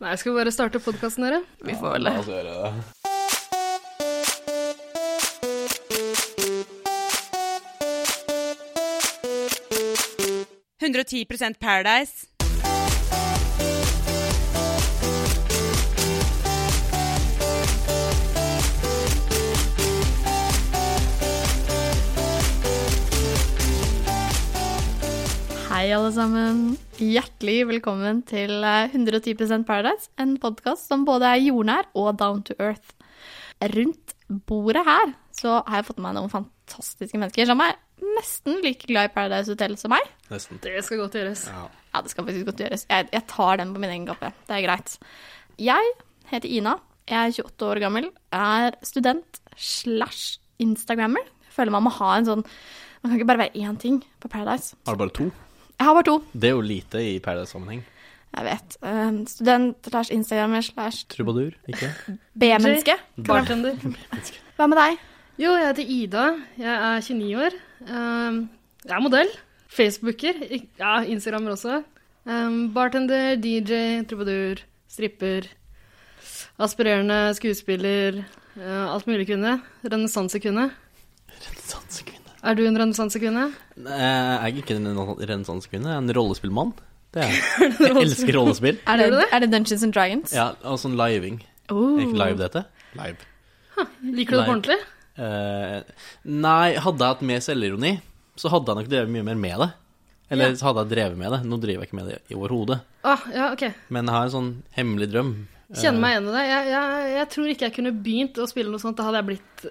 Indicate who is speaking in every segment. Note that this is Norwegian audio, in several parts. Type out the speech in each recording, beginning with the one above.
Speaker 1: Nei, jeg skal bare starte podkasten, dere.
Speaker 2: Vi får vel det.
Speaker 3: La oss gjøre det.
Speaker 4: Paradise.
Speaker 2: Hei, alle sammen. Hjertelig velkommen til eh, 110 Paradise, en podkast som både er jordnær og down to earth. Rundt bordet her så har jeg fått med meg noen fantastiske mennesker som er nesten like glad i Paradise Hotel som meg.
Speaker 3: Nesten.
Speaker 1: Det skal godt gjøres.
Speaker 2: Ja, det skal faktisk godt gjøres. Jeg, jeg tar den på min egen kappe. Det er greit. Jeg heter Ina. Jeg er 28 år gammel. Er student slash instagrammer. Jeg føler man må ha en sånn Man kan ikke bare være én ting på Paradise.
Speaker 3: Har du bare to?
Speaker 2: Jeg har bare to.
Speaker 3: Det er jo lite i Paradise-sammenheng.
Speaker 2: Jeg vet. Um, student slash instagrammer slash
Speaker 3: Trubadur, ikke?
Speaker 2: B-menneske.
Speaker 1: Bartender.
Speaker 2: Hva med deg?
Speaker 1: Jo, jeg heter Ida. Jeg er 29 år. Um, jeg er modell. Facebooker. Ik- Ja, Instagrammer også. Um, bartender, DJ, trubadur, stripper. Aspirerende skuespiller. Uh, alt mulig kvinne. Renessansekvinne.
Speaker 3: Renessansekvinne.
Speaker 1: Er du en renessansekvinne?
Speaker 3: Jeg er ikke en renessansekvinne, jeg er en rollespillmann. Det er jeg. Jeg elsker rollespill.
Speaker 2: Er det,
Speaker 1: Gjør du det?
Speaker 2: er det Dungeons and Dragons?
Speaker 3: Ja, og sånn living.
Speaker 2: Oh.
Speaker 3: Er ikke live det heter? Live.
Speaker 1: Liker du det på
Speaker 3: Nei.
Speaker 1: ordentlig?
Speaker 3: Eh, nei, hadde jeg hatt mer selvironi, så hadde jeg nok drevet mye mer med det. Eller så hadde jeg drevet med det. Nå driver jeg ikke med det i overhodet.
Speaker 1: Ah, ja, ok.
Speaker 3: Men jeg har en sånn hemmelig drøm. Eh.
Speaker 1: Kjenner meg igjen i det. Jeg, jeg, jeg tror ikke jeg kunne begynt å spille noe sånt. Da hadde jeg blitt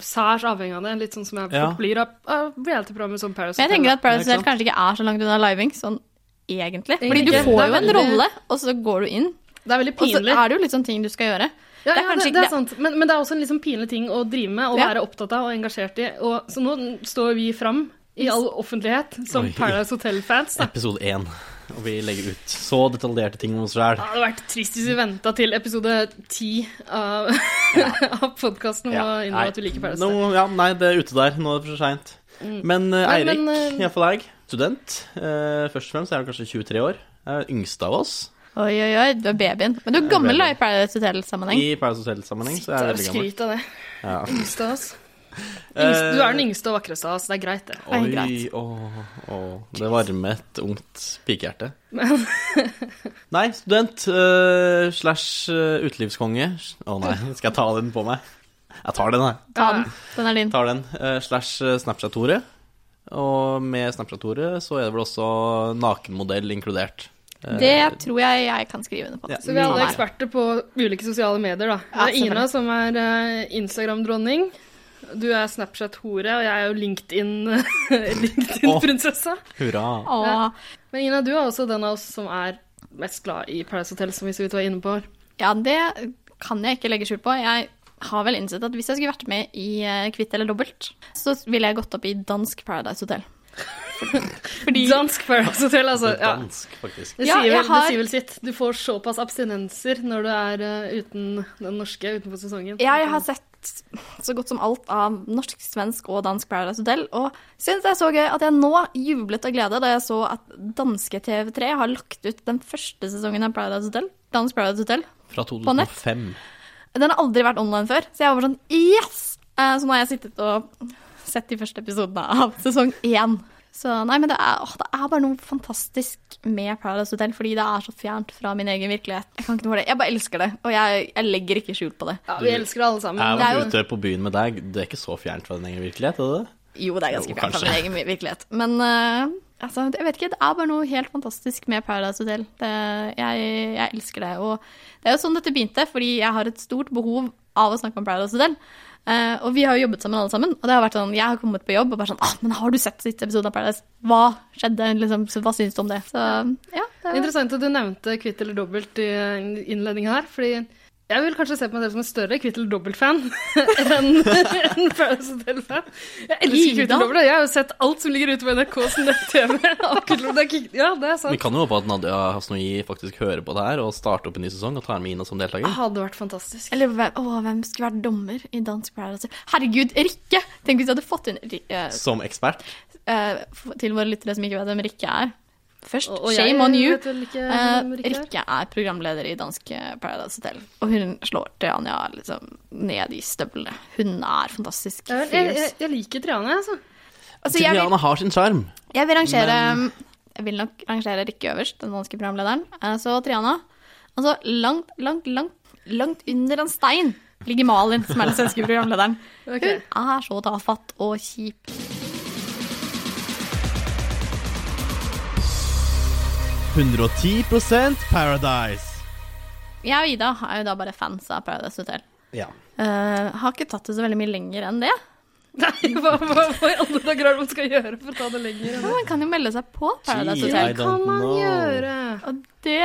Speaker 1: særs avhengig av det. Litt sånn som jeg
Speaker 3: Ja.
Speaker 1: fort blir av, av reality-programmer som Paris
Speaker 2: Men jeg tenker at Paradise
Speaker 3: Ja, ikke
Speaker 2: Hotel kanskje ikke er så langt unna living, sånn egentlig. Fordi du
Speaker 1: Egentlig.
Speaker 2: får
Speaker 1: Det er
Speaker 2: jo en
Speaker 1: veldig-
Speaker 2: rolle, og så går du inn.
Speaker 1: Det er veldig
Speaker 2: Og så
Speaker 1: pinlig.
Speaker 2: er det jo litt sånn ting du skal gjøre.
Speaker 1: Ja,
Speaker 2: det
Speaker 1: det er,
Speaker 2: er
Speaker 1: ja,
Speaker 2: kanskje ikke-
Speaker 1: det, det
Speaker 2: det er-
Speaker 1: er sant. Men, men det er også en liksom pinlig ting å drive med, og
Speaker 2: Ja.
Speaker 1: være opptatt av og engasjert i. Og, så nå står vi fram i all offentlighet som
Speaker 3: Oi.
Speaker 1: Paradise Hotel-fans. da.
Speaker 3: Episode én. Og vi legger ut så detaljerte ting om oss sjæl.
Speaker 1: Det hadde vært trist hvis vi venta til episode ti av, av podkasten med å innrømme at du liker Paradise Hotel.
Speaker 3: Nå- ja, nei, det er ute der. Nå er det for seint. Men eh,
Speaker 1: Nei,
Speaker 3: Eirik,
Speaker 1: men, eh,
Speaker 3: iallfall jeg, student. eh, først og fremst er du kanskje 23 år. Jeg er den yngste av oss.
Speaker 1: sånn-
Speaker 2: Oi, oi, oi, du er babyen. Men du er gammel
Speaker 3: babyen.
Speaker 2: da, i Paradise Hotel-sammenheng.
Speaker 3: I Paradise Hotel-sammenheng så
Speaker 1: Så
Speaker 3: er jeg
Speaker 1: er det
Speaker 3: veldig gammel. Eh.
Speaker 1: skryt av det.
Speaker 3: Ja.
Speaker 1: Yngste av oss. Yngste, du er den yngste og vakreste av oss. Det er greit, det.
Speaker 2: Nei,
Speaker 3: Oi,
Speaker 2: greit.
Speaker 3: åh, åh. Det varmer et ungt pikehjerte. nei, student eh, slash eh, utelivskonge. Å nei, skal jeg ta den på meg? Jeg tar den, jeg.
Speaker 2: Ta den. Den er din.
Speaker 3: tar den. eh, slash eh, Snapchat-ordet. Og med Snapchat-ordet så er det vel også nakenmodell inkludert. Eh,
Speaker 2: Det tror jeg jeg kan skrive under på.
Speaker 3: Ja.
Speaker 1: Så vi er alle
Speaker 2: Nei.
Speaker 1: eksperter på ulike sosiale medier, da.
Speaker 2: Ja,
Speaker 1: det er Ina
Speaker 2: selvfølgelig.
Speaker 1: som er eh, Instagram-dronning. Du er Snapchat-hore, og jeg er jo LinkedIn- LinkedIn-prinsessa.
Speaker 3: Hurra.
Speaker 2: Åh.
Speaker 1: Men Ina, du er også den av oss som er mest glad i Paradise Hotel, som vi så vidt var inne på.
Speaker 2: Ja, det kan jeg ikke legge skjul på. Jeg har vel innsett at hvis jeg skulle vært med i eh, Kvitt eller dobbelt, så ville jeg gått opp i dansk Paradise Hotel. Fordi
Speaker 1: Dansk Paradise Hotel, altså. Ja.
Speaker 3: Dansk, faktisk.
Speaker 1: Det,
Speaker 2: Ja,
Speaker 1: sier
Speaker 2: jeg
Speaker 1: vel,
Speaker 2: har-
Speaker 1: det sier vel sitt. Du får såpass abstinenser når du er eh, uten den norske utenfor sesongen.
Speaker 2: jeg har sett så godt som alt av norsk, svensk og dansk Paradise Hotel, og syns det er så gøy at jeg nå jublet av glede da jeg så at danske TV3 har lagt ut den første sesongen av Paradise Hotel, Dansk Paradise Hotel.
Speaker 3: Fra
Speaker 2: nett.
Speaker 3: 2005.
Speaker 2: Den har aldri vært online før, så jeg var bare sånn yes! Eh, Så nå har jeg sittet og sett de første episodene av sesong én. Så nei, men det er, åh, det er bare noe fantastisk med Paradise Hotel, fordi det er så fjernt fra min egen virkelighet. Jeg kan ikke noe for det. Jeg bare elsker det, og jeg, jeg legger ikke skjul på det.
Speaker 1: Ja, vi elsker det alle sammen.
Speaker 3: Jeg
Speaker 2: Mm, det
Speaker 3: var
Speaker 2: er jo-
Speaker 3: ute på byen med deg. Det er ikke så fjernt fra din egen virkelighet, er det det?
Speaker 2: Jo, det er ganske
Speaker 3: Jo,
Speaker 2: fjernt fra
Speaker 3: kanskje.
Speaker 2: min egen virkelighet, men eh, altså, jeg vet ikke, det er bare noe helt fantastisk med Paradise Hotel. Det, jeg, jeg elsker det, og det er jo sånn dette begynte, fordi jeg har et stort behov av å snakke om Paradise Hotel. Eh, og vi har jo jobbet sammen alle sammen, og det har vært sånn, jeg har kommet på jobb og bare sånn, ah, men har du sett siste episode av Paradise? Hva skjedde? Liksom, så hva synes du om det? Så ja, det er
Speaker 1: Interessant at du nevnte kvitt eller dobbelt i innledningen her, fordi jeg vil kanskje se på meg selv som en større kvitt eller dobbelt-fan enn en Paradise Hotel-fan. Jeg elsker kvitt
Speaker 2: Ida?
Speaker 1: eller dobbelt, og jeg har jo sett alt som ligger ute på NRKs nett-TV. av Kvitt eller Dobbelt. Ja, det er
Speaker 3: Vi
Speaker 1: sant.
Speaker 3: kan jo håpe at Nadia Hasnoi faktisk hører på det her og starter opp en ny sesong og tar med Ina som
Speaker 2: Ah.
Speaker 3: deltaker.
Speaker 1: Hadde vært fantastisk.
Speaker 2: Eller hvem, å, hvem skulle vært dommer i Dansk Paradise? Herregud, Rikke! Tenk hvis du hadde fått inn Ri- eh,
Speaker 3: Som ekspert.
Speaker 2: eh, f- til våre lyttere som ikke vet hvem Rikke er. Først,
Speaker 1: Og- og jeg
Speaker 2: shame on you.
Speaker 1: vet vel ikke
Speaker 2: Eh,
Speaker 1: hvem Rikke er.
Speaker 2: Rikke er programleder i dansk eh, Paradise Hotel, og hun slår Triania liksom ned i støvlene. Hun er fantastisk.
Speaker 1: Jeg, jeg, jeg,
Speaker 2: fierce.
Speaker 1: jeg liker Triane, altså.
Speaker 2: Altså, jeg, vil,
Speaker 3: Triana har sin sjarm.
Speaker 2: jeg vil rangere Jeg vil nok rangere Rikke øverst, den danske programlederen. Eh, Så Triana Altså, langt, langt, langt, langt under en stein ligger Malin, som er den svenske programlederen.
Speaker 1: Ok.
Speaker 2: Hun er så tafatt og kjip.
Speaker 5: Paradise.
Speaker 2: Jeg og Ida er jo da bare fans av Paradise Hotel.
Speaker 3: Ja.
Speaker 2: Eh, har ikke tatt det så veldig mye lenger enn det.
Speaker 1: Nei, hva, hva, hva i alle dager er det man skal gjøre for å ta det lenger? enn
Speaker 2: Men
Speaker 1: det?
Speaker 2: man kan jo melde seg på Paradise
Speaker 3: Gee, I
Speaker 2: Hotel.
Speaker 1: Kan
Speaker 3: don't
Speaker 1: man
Speaker 3: know.
Speaker 1: gjøre?
Speaker 2: Og det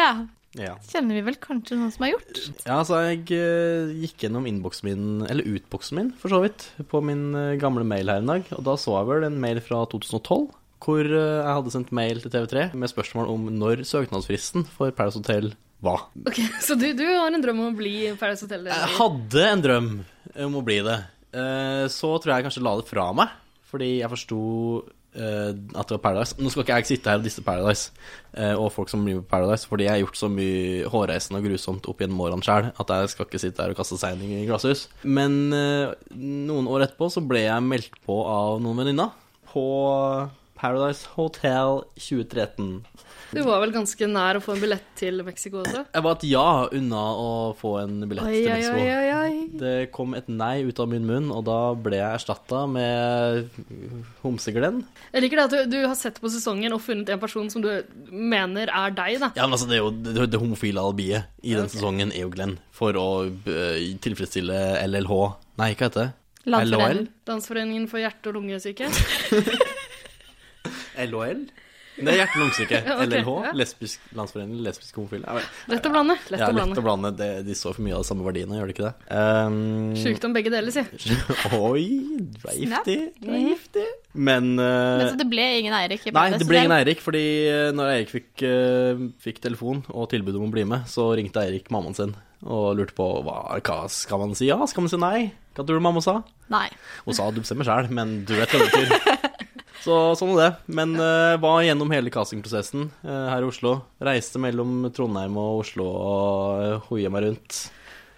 Speaker 3: Ja.
Speaker 2: kjenner vi vel kanskje noen som har gjort.
Speaker 3: Ja, altså jeg eh, gikk gjennom innboksen min, eller utboksen min for så vidt, på min eh, gamle mail her en dag, og da så jeg vel en mail fra 2012, hvor eh, jeg hadde sendt mail til TV3 med spørsmål om når søknadsfristen for Paradise Hotel var.
Speaker 1: Ok, Så du, du har en drøm om å bli Paradise Hotel?
Speaker 3: Jeg hadde en drøm om å bli det. Eh, Så tror jeg kanskje la det fra meg, fordi jeg forsto eh, at det var Paradise. Nå skal ikke jeg sitte her og disse Paradise eh, og folk som blir med på Paradise, fordi jeg har gjort så mye hårreisende og grusomt opp gjennom årene sjøl at jeg skal ikke sitte her og kaste seining i glasshus. Men eh, noen år etterpå så ble jeg meldt på av noen venninner på Paradise Hotel 2013.
Speaker 1: Du var vel ganske nær å få en billett til Mexico også?
Speaker 3: Jeg var et ja unna å få en billett til Mexico. Det kom et nei ut av min munn, og da ble jeg erstatta med homseglenn.
Speaker 1: Jeg liker det at du, du har sett på sesongen og funnet en person som du mener er deg, da.
Speaker 3: Ja, men altså, det er jo det, det homofile alibiet i den sesongen er jo Glenn for å eh, tilfredsstille LLH Nei, hva heter det? LOL?
Speaker 2: Landsforeningen.
Speaker 1: Landsforeningen for hjerte- og lungesyke.
Speaker 3: LOL? Det er hjerte- og lungesyke.
Speaker 1: Ja, ok,
Speaker 3: LLH.
Speaker 1: ja.
Speaker 3: Lesbisk, Landsforeningen lesbisk homofile. Ja, vel.
Speaker 1: Lett å blande. Lett
Speaker 3: Ja,
Speaker 1: å
Speaker 3: lett å
Speaker 1: blande.
Speaker 3: blande. Det, de står for mye av de samme verdiene, gjør de ikke det? Um,
Speaker 1: Sjukdom begge deler, si.
Speaker 3: Oi, reiftig. Reiftig. Men eh,
Speaker 2: Men så det ble ingen Eirik i
Speaker 3: Nei,
Speaker 2: Paradise
Speaker 3: det ble ingen
Speaker 2: Hotel.
Speaker 3: Eirik, fordi eh, når Eirik fikk, eh, fikk telefon og tilbud om å bli med, så ringte Eirik mammaen sin og lurte på hva, hva skal man si ja, skal man si nei? Hva tror du mamma sa?
Speaker 2: Nei.
Speaker 3: Hun sa du bestemmer sjæl, men du vet hva det betyr. Så sånn er det. Men eh, var gjennom hele castingprosessen eh, her i Oslo. Reiste mellom Trondheim og Oslo og eh, hoia meg rundt.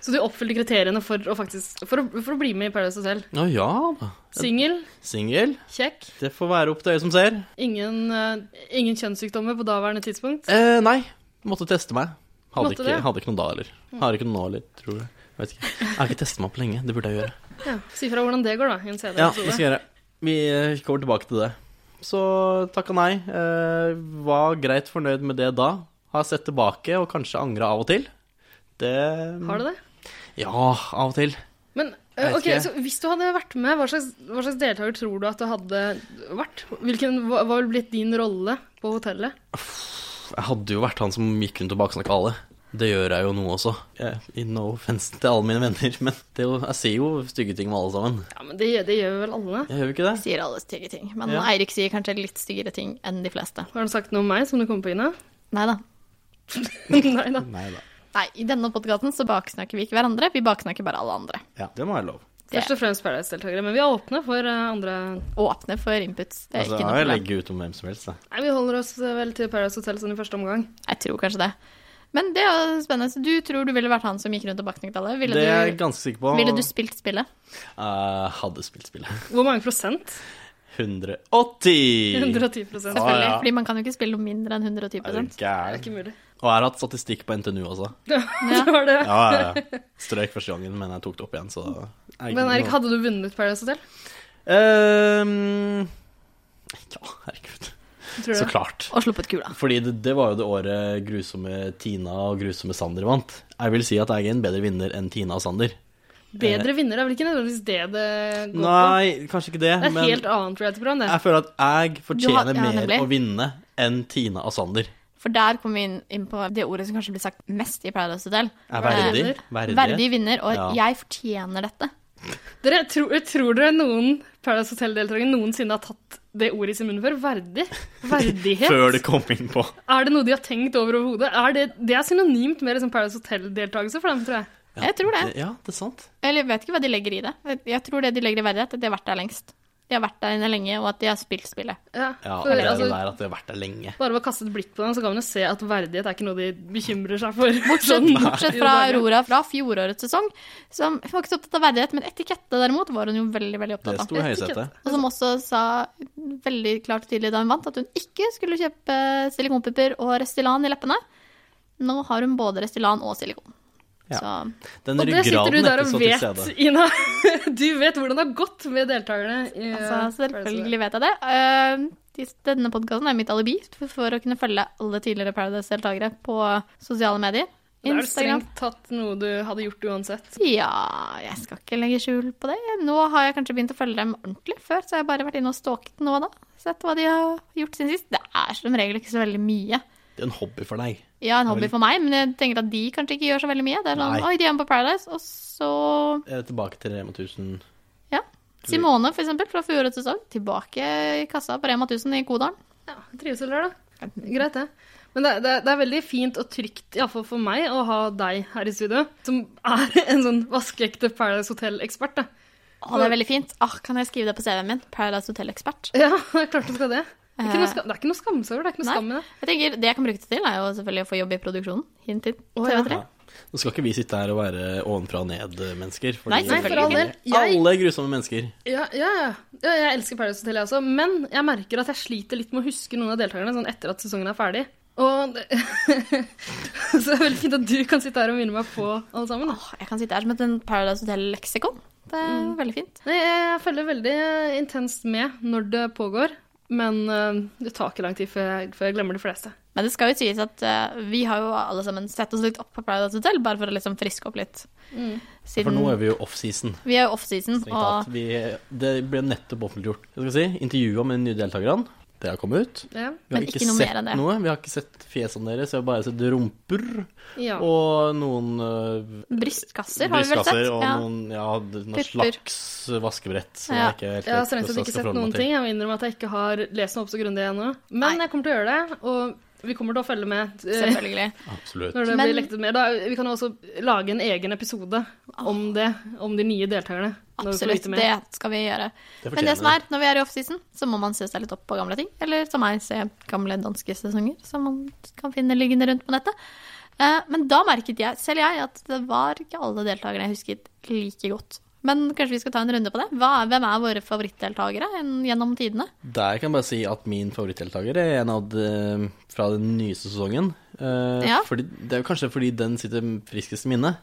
Speaker 1: Så du oppfyller kriteriene for å, faktisk, for å, for å bli med i Paradise Hotel.
Speaker 3: Å ja da.
Speaker 1: Singel,
Speaker 3: Singel.
Speaker 1: kjekk,
Speaker 3: Det får være opp til øyet som ser.
Speaker 1: ingen, eh, ingen kjønnssykdommer på daværende tidspunkt.
Speaker 3: Eh, nei, måtte teste meg. Hadde,
Speaker 1: Måtte
Speaker 3: ikke,
Speaker 1: det?
Speaker 3: hadde ikke noen da heller. Har ikke noen nå heller, tror jeg. Jeg Vet ikke. Jeg har ikke testet meg opp lenge. Det burde jeg gjøre.
Speaker 1: Ja. Si fra hvordan det går, da. i en senere
Speaker 3: Ja, det skal
Speaker 1: episode.
Speaker 3: jeg gjøre. Vi eh, kommer tilbake til det. Så takka nei. Eh, var greit fornøyd med det da. Har sett tilbake og kanskje angra av og til. Det
Speaker 1: Har du det?
Speaker 3: Ja, av og til.
Speaker 1: Men eh,
Speaker 3: Jeg vet
Speaker 1: ok,
Speaker 3: ikke.
Speaker 1: så hvis du hadde vært med, hva slags, hva slags deltaker tror du at du hadde vært? Hvilken, hva, hva ville blitt din rolle på hotellet?
Speaker 3: Jeg hadde jo vært han som gikk rundt og baksnakka alle. Det gjør jeg jo nå også. Jeg, no offense til alle mine venner, men det er jo, jeg sier jo stygge ting med alle sammen.
Speaker 1: Ja, men det, det gjør vel alle.
Speaker 3: Jeg gjør jo ikke det?
Speaker 2: Sier alle stygge ting. Men
Speaker 3: Ja.
Speaker 2: Eirik sier kanskje litt styggere ting enn de fleste.
Speaker 1: Har han sagt noe om meg som du kom på, Ina?
Speaker 2: Nei da.
Speaker 1: Nei da.
Speaker 3: Nei da.
Speaker 2: Nei, i denne podkasten så baksnakker vi ikke hverandre, vi baksnakker bare alle andre.
Speaker 3: Ja, det må være lov.
Speaker 2: Det
Speaker 1: Først og fremst Paradise-deltakere, men vi er åpne for eh, andre
Speaker 2: åpner for inputs. Det er
Speaker 3: Altså,
Speaker 2: ikke
Speaker 3: jeg
Speaker 2: noe problem.
Speaker 3: legger ut om hvem som helst, jeg.
Speaker 1: Nei, vi holder oss eh, vel til Paradise Hotel sånn i første omgang.
Speaker 2: Jeg tror kanskje det. Men det er jo spennende. Så du tror du ville vært han som gikk rundt og baksnakket alle? Ville,
Speaker 3: det er jeg
Speaker 2: du,
Speaker 3: ganske sikker på.
Speaker 2: ville du spilt spillet?
Speaker 3: Jeg hadde spilt spillet.
Speaker 1: Hvor mange prosent?
Speaker 3: 180!
Speaker 1: 110 prosent.
Speaker 3: Ah,
Speaker 2: Selvfølgelig.
Speaker 3: ja.
Speaker 2: Fordi man kan jo ikke spille noe mindre enn 110
Speaker 3: Er du
Speaker 1: Det er
Speaker 3: gæren?
Speaker 1: ikke mulig.
Speaker 3: Og jeg har hatt statistikk på NTNU også.
Speaker 1: Det var det.
Speaker 3: Ja, ja, ja. Strøk første gangen, men jeg tok det opp igjen, så jeg-
Speaker 1: Men Erik, hadde du vunnet Paradise Hotel?
Speaker 3: Ehm, Ja, herregud.
Speaker 1: Tror du?
Speaker 3: Så
Speaker 1: det?
Speaker 3: klart.
Speaker 2: Og sluppet kula.
Speaker 3: Fordi det, det var jo det året grusomme Tina og grusomme Sander vant. Jeg vil si at jeg er en bedre vinner enn Tina og Sander.
Speaker 1: Bedre vinner er vel ikke nødvendigvis det det går på?
Speaker 3: Nei, kanskje ikke
Speaker 1: Det
Speaker 3: det,
Speaker 1: er et
Speaker 3: men
Speaker 1: helt annet reality-program, det.
Speaker 3: jeg føler at jeg fortjener
Speaker 2: ja,
Speaker 3: mer
Speaker 2: nemlig.
Speaker 3: å vinne enn Tina og Sander.
Speaker 2: For der kommer vi inn, inn på det ordet som kanskje blir sagt mest i Paradise Hotel.
Speaker 3: Er verdig.
Speaker 1: Verdig.
Speaker 3: Verdig.
Speaker 2: Verdig vinner, og
Speaker 3: Ja.
Speaker 2: jeg fortjener dette.
Speaker 1: Dere, tror, tror dere noen Paradise Hotel-deltakere noensinne har tatt det ordet i sin munn før? Verdig? Verdighet?
Speaker 3: Før det kom inn på.
Speaker 1: Er det noe de har tenkt over overhodet? Er det, det er synonymt med liksom Paradise Hotel-deltakelse for dem, tror jeg.
Speaker 2: Jeg tror det.
Speaker 3: Ja, det er sant.
Speaker 2: Eller jeg vet ikke hva de legger i det. Jeg tror det de legger i verdighet, er at de har vært der lengst. De har vært der inne lenge, og at de har spilt spillet.
Speaker 1: Ja,
Speaker 3: Ja,
Speaker 1: for,
Speaker 3: det er det
Speaker 1: altså,
Speaker 3: der at det har vært der lenge.
Speaker 1: bare ved å kaste et blikk på dem, så kan man jo se at verdighet er ikke noe de bekymrer seg for.
Speaker 2: Bortsett,
Speaker 1: Sånn, i
Speaker 2: bortsett fra
Speaker 1: det daglige.
Speaker 2: Aurora fra fjorårets sesong, som hun var ikke så opptatt av verdighet, men etikette derimot var hun jo veldig veldig
Speaker 3: Det
Speaker 2: opptatt av.
Speaker 3: sto i høysetet.
Speaker 2: Og som også sa veldig klart og tydelig da hun vant, at hun ikke skulle kjøpe silikonpupper og Restylane i leppene. Nå har hun både Restylane og silikon.
Speaker 3: Ja.
Speaker 2: Så
Speaker 3: Den
Speaker 1: Og det sitter
Speaker 3: ryggraden
Speaker 1: du
Speaker 3: er
Speaker 1: der
Speaker 3: ikke
Speaker 1: og
Speaker 3: så til
Speaker 1: vet,
Speaker 3: stede.
Speaker 1: Ina. Du vet hvordan det har gått med deltakerne. i, eh,
Speaker 2: altså,
Speaker 1: Paradise Hotel.
Speaker 2: selvfølgelig vet jeg det. Eh, de- Denne podkasten er mitt alibi for- for å kunne følge alle tidligere Paradise-deltakere på sosiale medier.
Speaker 1: Det er vel
Speaker 2: Instagram.
Speaker 1: strengt tatt noe du hadde gjort uansett.
Speaker 2: Ja, jeg skal ikke legge skjul på det. Nå har jeg kanskje begynt å følge dem ordentlig. Før så har jeg bare vært inne og stalket nå og da. Sett hva de har gjort siden sist. Det er som regel ikke så veldig mye.
Speaker 3: Det er en hobby for deg.
Speaker 2: Ja, en hobby
Speaker 3: vel-
Speaker 2: for meg, men jeg tenker at de kanskje ikke gjør så veldig mye. Det er sånn,
Speaker 3: Nei.
Speaker 2: oi, de er med på Paradise, og så
Speaker 3: Eh, Tilbake til Rema 1000.
Speaker 2: ja. Simone, for eksempel, fra fjorårets sesong, tilbake i kassa på Rema 1000 i Kodalen.
Speaker 1: Ja, Trivsel der, da. Greit, det. Men det, det, det er veldig fint og trygt, iallfall for meg, å ha deg her i studio, som er en sånn vaskeekte Paradise Hotel-ekspert. da.
Speaker 2: Å, det er veldig fint. Ah, kan jeg skrive det på CV-en min? Paradise Hotel-ekspert.
Speaker 1: Ja, klart du skal det. Det er ikke noe,
Speaker 2: Eh.
Speaker 1: skam, det er ikke noe skamse over det. Det er ikke noe skam i det.
Speaker 2: Jeg tenker, Det jeg kan bruke det til, er jo selvfølgelig å få jobb i produksjonen. Hint, hint.
Speaker 1: Å, ja.
Speaker 2: TV3.
Speaker 3: Nå skal ikke vi sitte her og være ovenfra og eh, ned-mennesker.
Speaker 2: Nei,
Speaker 1: Nei, for all del. Jeg,
Speaker 3: Alle er grusomme mennesker.
Speaker 1: ja, ja, ja. ja, jeg elsker Paradise Hotel, jeg også. Men jeg merker at jeg sliter litt med å huske noen av deltakerne sånn etter at sesongen er ferdig. Og det, så det er veldig fint at du kan sitte her og minne meg på alle sammen. Da.
Speaker 2: Åh, jeg kan sitte her som et en Paradise Hotel-leksikon. Det er
Speaker 1: Mm.
Speaker 2: veldig fint.
Speaker 1: Nei, jeg følger veldig intenst med når det pågår, men eh, det tar ikke lang tid før jeg, før jeg glemmer de fleste.
Speaker 2: Men det skal jo sies at eh, vi har jo alle sammen sett oss litt opp på Paradise Hotel, bare for å liksom friske opp litt.
Speaker 1: Mm.
Speaker 3: For
Speaker 2: Siden
Speaker 3: nå er vi jo offseason.
Speaker 2: vi er jo off-season,
Speaker 3: strengt tatt.
Speaker 2: og
Speaker 3: Vi, det ble nettopp offentliggjort. Jeg skal si, Intervjuet med de nye deltakerne. Det har kommet ut.
Speaker 1: Ja.
Speaker 3: Vi har
Speaker 2: Men ikke noe
Speaker 3: sett
Speaker 2: mer enn det.
Speaker 3: noe. Vi har ikke sett fjesene deres, vi har bare sett rumper
Speaker 1: Ja.
Speaker 3: og noen øh,
Speaker 2: brystkasser har vi vel
Speaker 3: brystkasser
Speaker 2: sett?
Speaker 3: og
Speaker 2: Ja.
Speaker 3: noen, ja, noen
Speaker 2: Pupper.
Speaker 3: slags vaskebrett. som
Speaker 2: Ja.
Speaker 3: jeg ikke helt
Speaker 1: Jeg har
Speaker 3: vet
Speaker 1: strengt sett
Speaker 3: hvordan jeg
Speaker 1: ikke
Speaker 3: skal
Speaker 1: sett
Speaker 3: forholde
Speaker 1: noen
Speaker 3: meg til.
Speaker 1: ting. Jeg må innrømme at jeg ikke har lest meg opp så grundig ennå. Men
Speaker 2: Nei.
Speaker 1: jeg kommer til å gjøre det, og vi kommer til å følge med eh,
Speaker 2: Selvfølgelig.
Speaker 3: Absolutt.
Speaker 1: når det
Speaker 2: Men-
Speaker 1: blir lektet med. Da, vi kan jo også lage en egen episode om det, om de nye deltakerne. når vi får
Speaker 2: Absolutt.
Speaker 1: vite mer.
Speaker 2: Det skal vi gjøre. Men
Speaker 3: Det
Speaker 2: det
Speaker 3: fortjener
Speaker 2: som er, når vi er i off-season, så må man se seg litt opp på gamle ting. Eller som meg, se gamle danske sesonger som man kan finne liggende rundt på nettet. Eh, Men da merket jeg, selv jeg, at det var ikke alle deltakerne jeg husket like godt. Men kanskje vi skal ta en runde på det? Hva, hvem er våre favorittdeltakere en- gjennom tidene?
Speaker 3: Der kan jeg bare si at min favorittdeltaker er en av de øh, fra den nye sesongen. Eh,
Speaker 2: Ja.
Speaker 3: fordi, det er jo kanskje fordi den sitter friskest i minnet.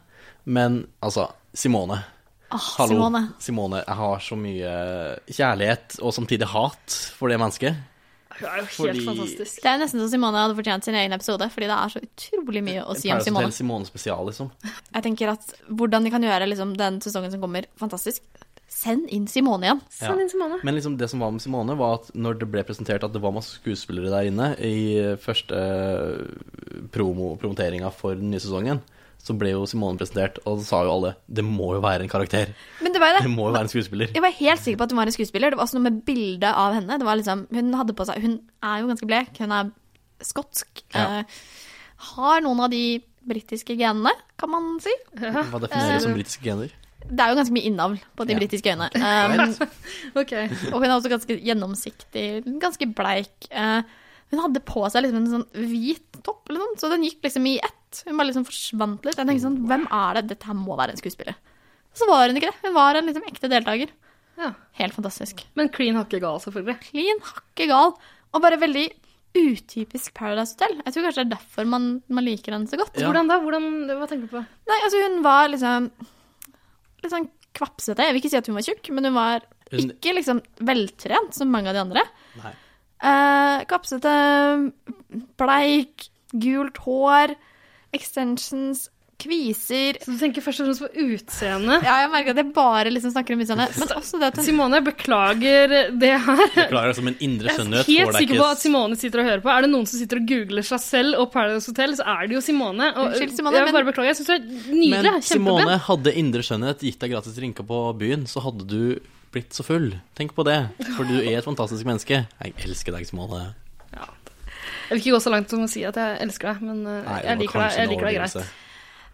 Speaker 3: Men altså, Simone.
Speaker 2: Åh,
Speaker 3: Hallo. Simone.
Speaker 2: Simone.
Speaker 3: Jeg har så mye kjærlighet og samtidig hat for det mennesket.
Speaker 1: Hun er jo helt
Speaker 3: Fordi-
Speaker 1: fantastisk.
Speaker 2: Det er nesten så Simone hadde fortjent sin egen episode, fordi det er så utrolig mye å si om
Speaker 3: Paradise
Speaker 2: Simone.
Speaker 3: Hotel Simone spesial, liksom.
Speaker 2: Jeg tenker at hvordan de kan gjøre liksom, den sesongen som kommer, fantastisk. Send inn Simone igjen.
Speaker 1: Send inn Simone.
Speaker 3: Men liksom det som var med Simone, var at når det ble presentert at det var masse skuespillere der inne i eh, første eh, promo promoteringa for den nye sesongen, så ble jo Simone presentert, og så sa jo alle det må jo være en karakter.
Speaker 2: Men det var jo det.
Speaker 3: Det må jo være en skuespiller.
Speaker 2: Jeg var helt sikker på at hun var en skuespiller. Det var også noe med bildet av henne. Det var liksom, hun, hadde på seg, hun er jo ganske blek. Hun er skotsk.
Speaker 3: Ja.
Speaker 2: Eh, har noen av de britiske genene, kan man si.
Speaker 3: Hva defineres
Speaker 1: Eh.
Speaker 3: som britiske gener?
Speaker 2: Det er jo ganske mye innavl på de
Speaker 3: Ja.
Speaker 2: britiske øynene. Um,
Speaker 1: Ok.
Speaker 2: og hun er også ganske gjennomsiktig, ganske bleik. Eh, hun hadde på seg liksom en sånn hvit topp, eller noe, så den gikk liksom i ett. Hun bare liksom forsvant litt. Jeg tenkte sånn, hvem er det? Dette her må være en skuespiller. Så var hun ikke det. Hun var en liksom ekte deltaker.
Speaker 1: Ja.
Speaker 2: Helt fantastisk.
Speaker 1: Men clean hakke gal, selvfølgelig.
Speaker 2: klin hakke gal. Og bare veldig utypisk Paradise Hotel. Jeg tror kanskje det er derfor man, man liker henne så godt.
Speaker 3: Ja.
Speaker 1: Hvordan da? Hvordan, hva tenker du på?
Speaker 2: Nei, altså hun var liksom litt sånn kvapsete. Jeg vil ikke si at hun var tjukk, men hun var
Speaker 3: Hun-
Speaker 2: ikke liksom veltrent som mange av de andre.
Speaker 3: Nei.
Speaker 2: Eh, kapsete, bleik, gult hår, extensions, kviser
Speaker 1: Så du tenker først og fremst på utseendet.
Speaker 2: Ja, jeg merker at jeg bare liksom snakker om utseende. Men også det at hun
Speaker 1: Simone, jeg beklager det her.
Speaker 3: Beklager, altså, men indre
Speaker 1: Jeg er
Speaker 3: skjønnhet
Speaker 1: helt
Speaker 3: får deg
Speaker 1: sikker på
Speaker 3: ikke
Speaker 1: at Simone sitter og hører på. Er det noen som sitter og googler seg selv og Paradise Hotel, så er det jo Simone. Og
Speaker 2: Unnskyld, Simone,
Speaker 1: jeg
Speaker 2: men-
Speaker 1: bare beklager. Jeg syns du er nydelig.
Speaker 3: Men
Speaker 1: Kjempebra.
Speaker 3: Simone hadde indre skjønnhet, gitt deg gratis drinker på byen, så hadde du blitt så full. Tenk på det, for du er et fantastisk menneske. Jeg elsker deg, Simone.
Speaker 1: Jeg vil ikke gå så langt som å si at jeg elsker deg, men eh,
Speaker 3: Nei,
Speaker 1: jeg
Speaker 3: det var
Speaker 1: liker deg,
Speaker 3: kanskje en
Speaker 1: jeg liker deg greit.
Speaker 3: overdrivelse.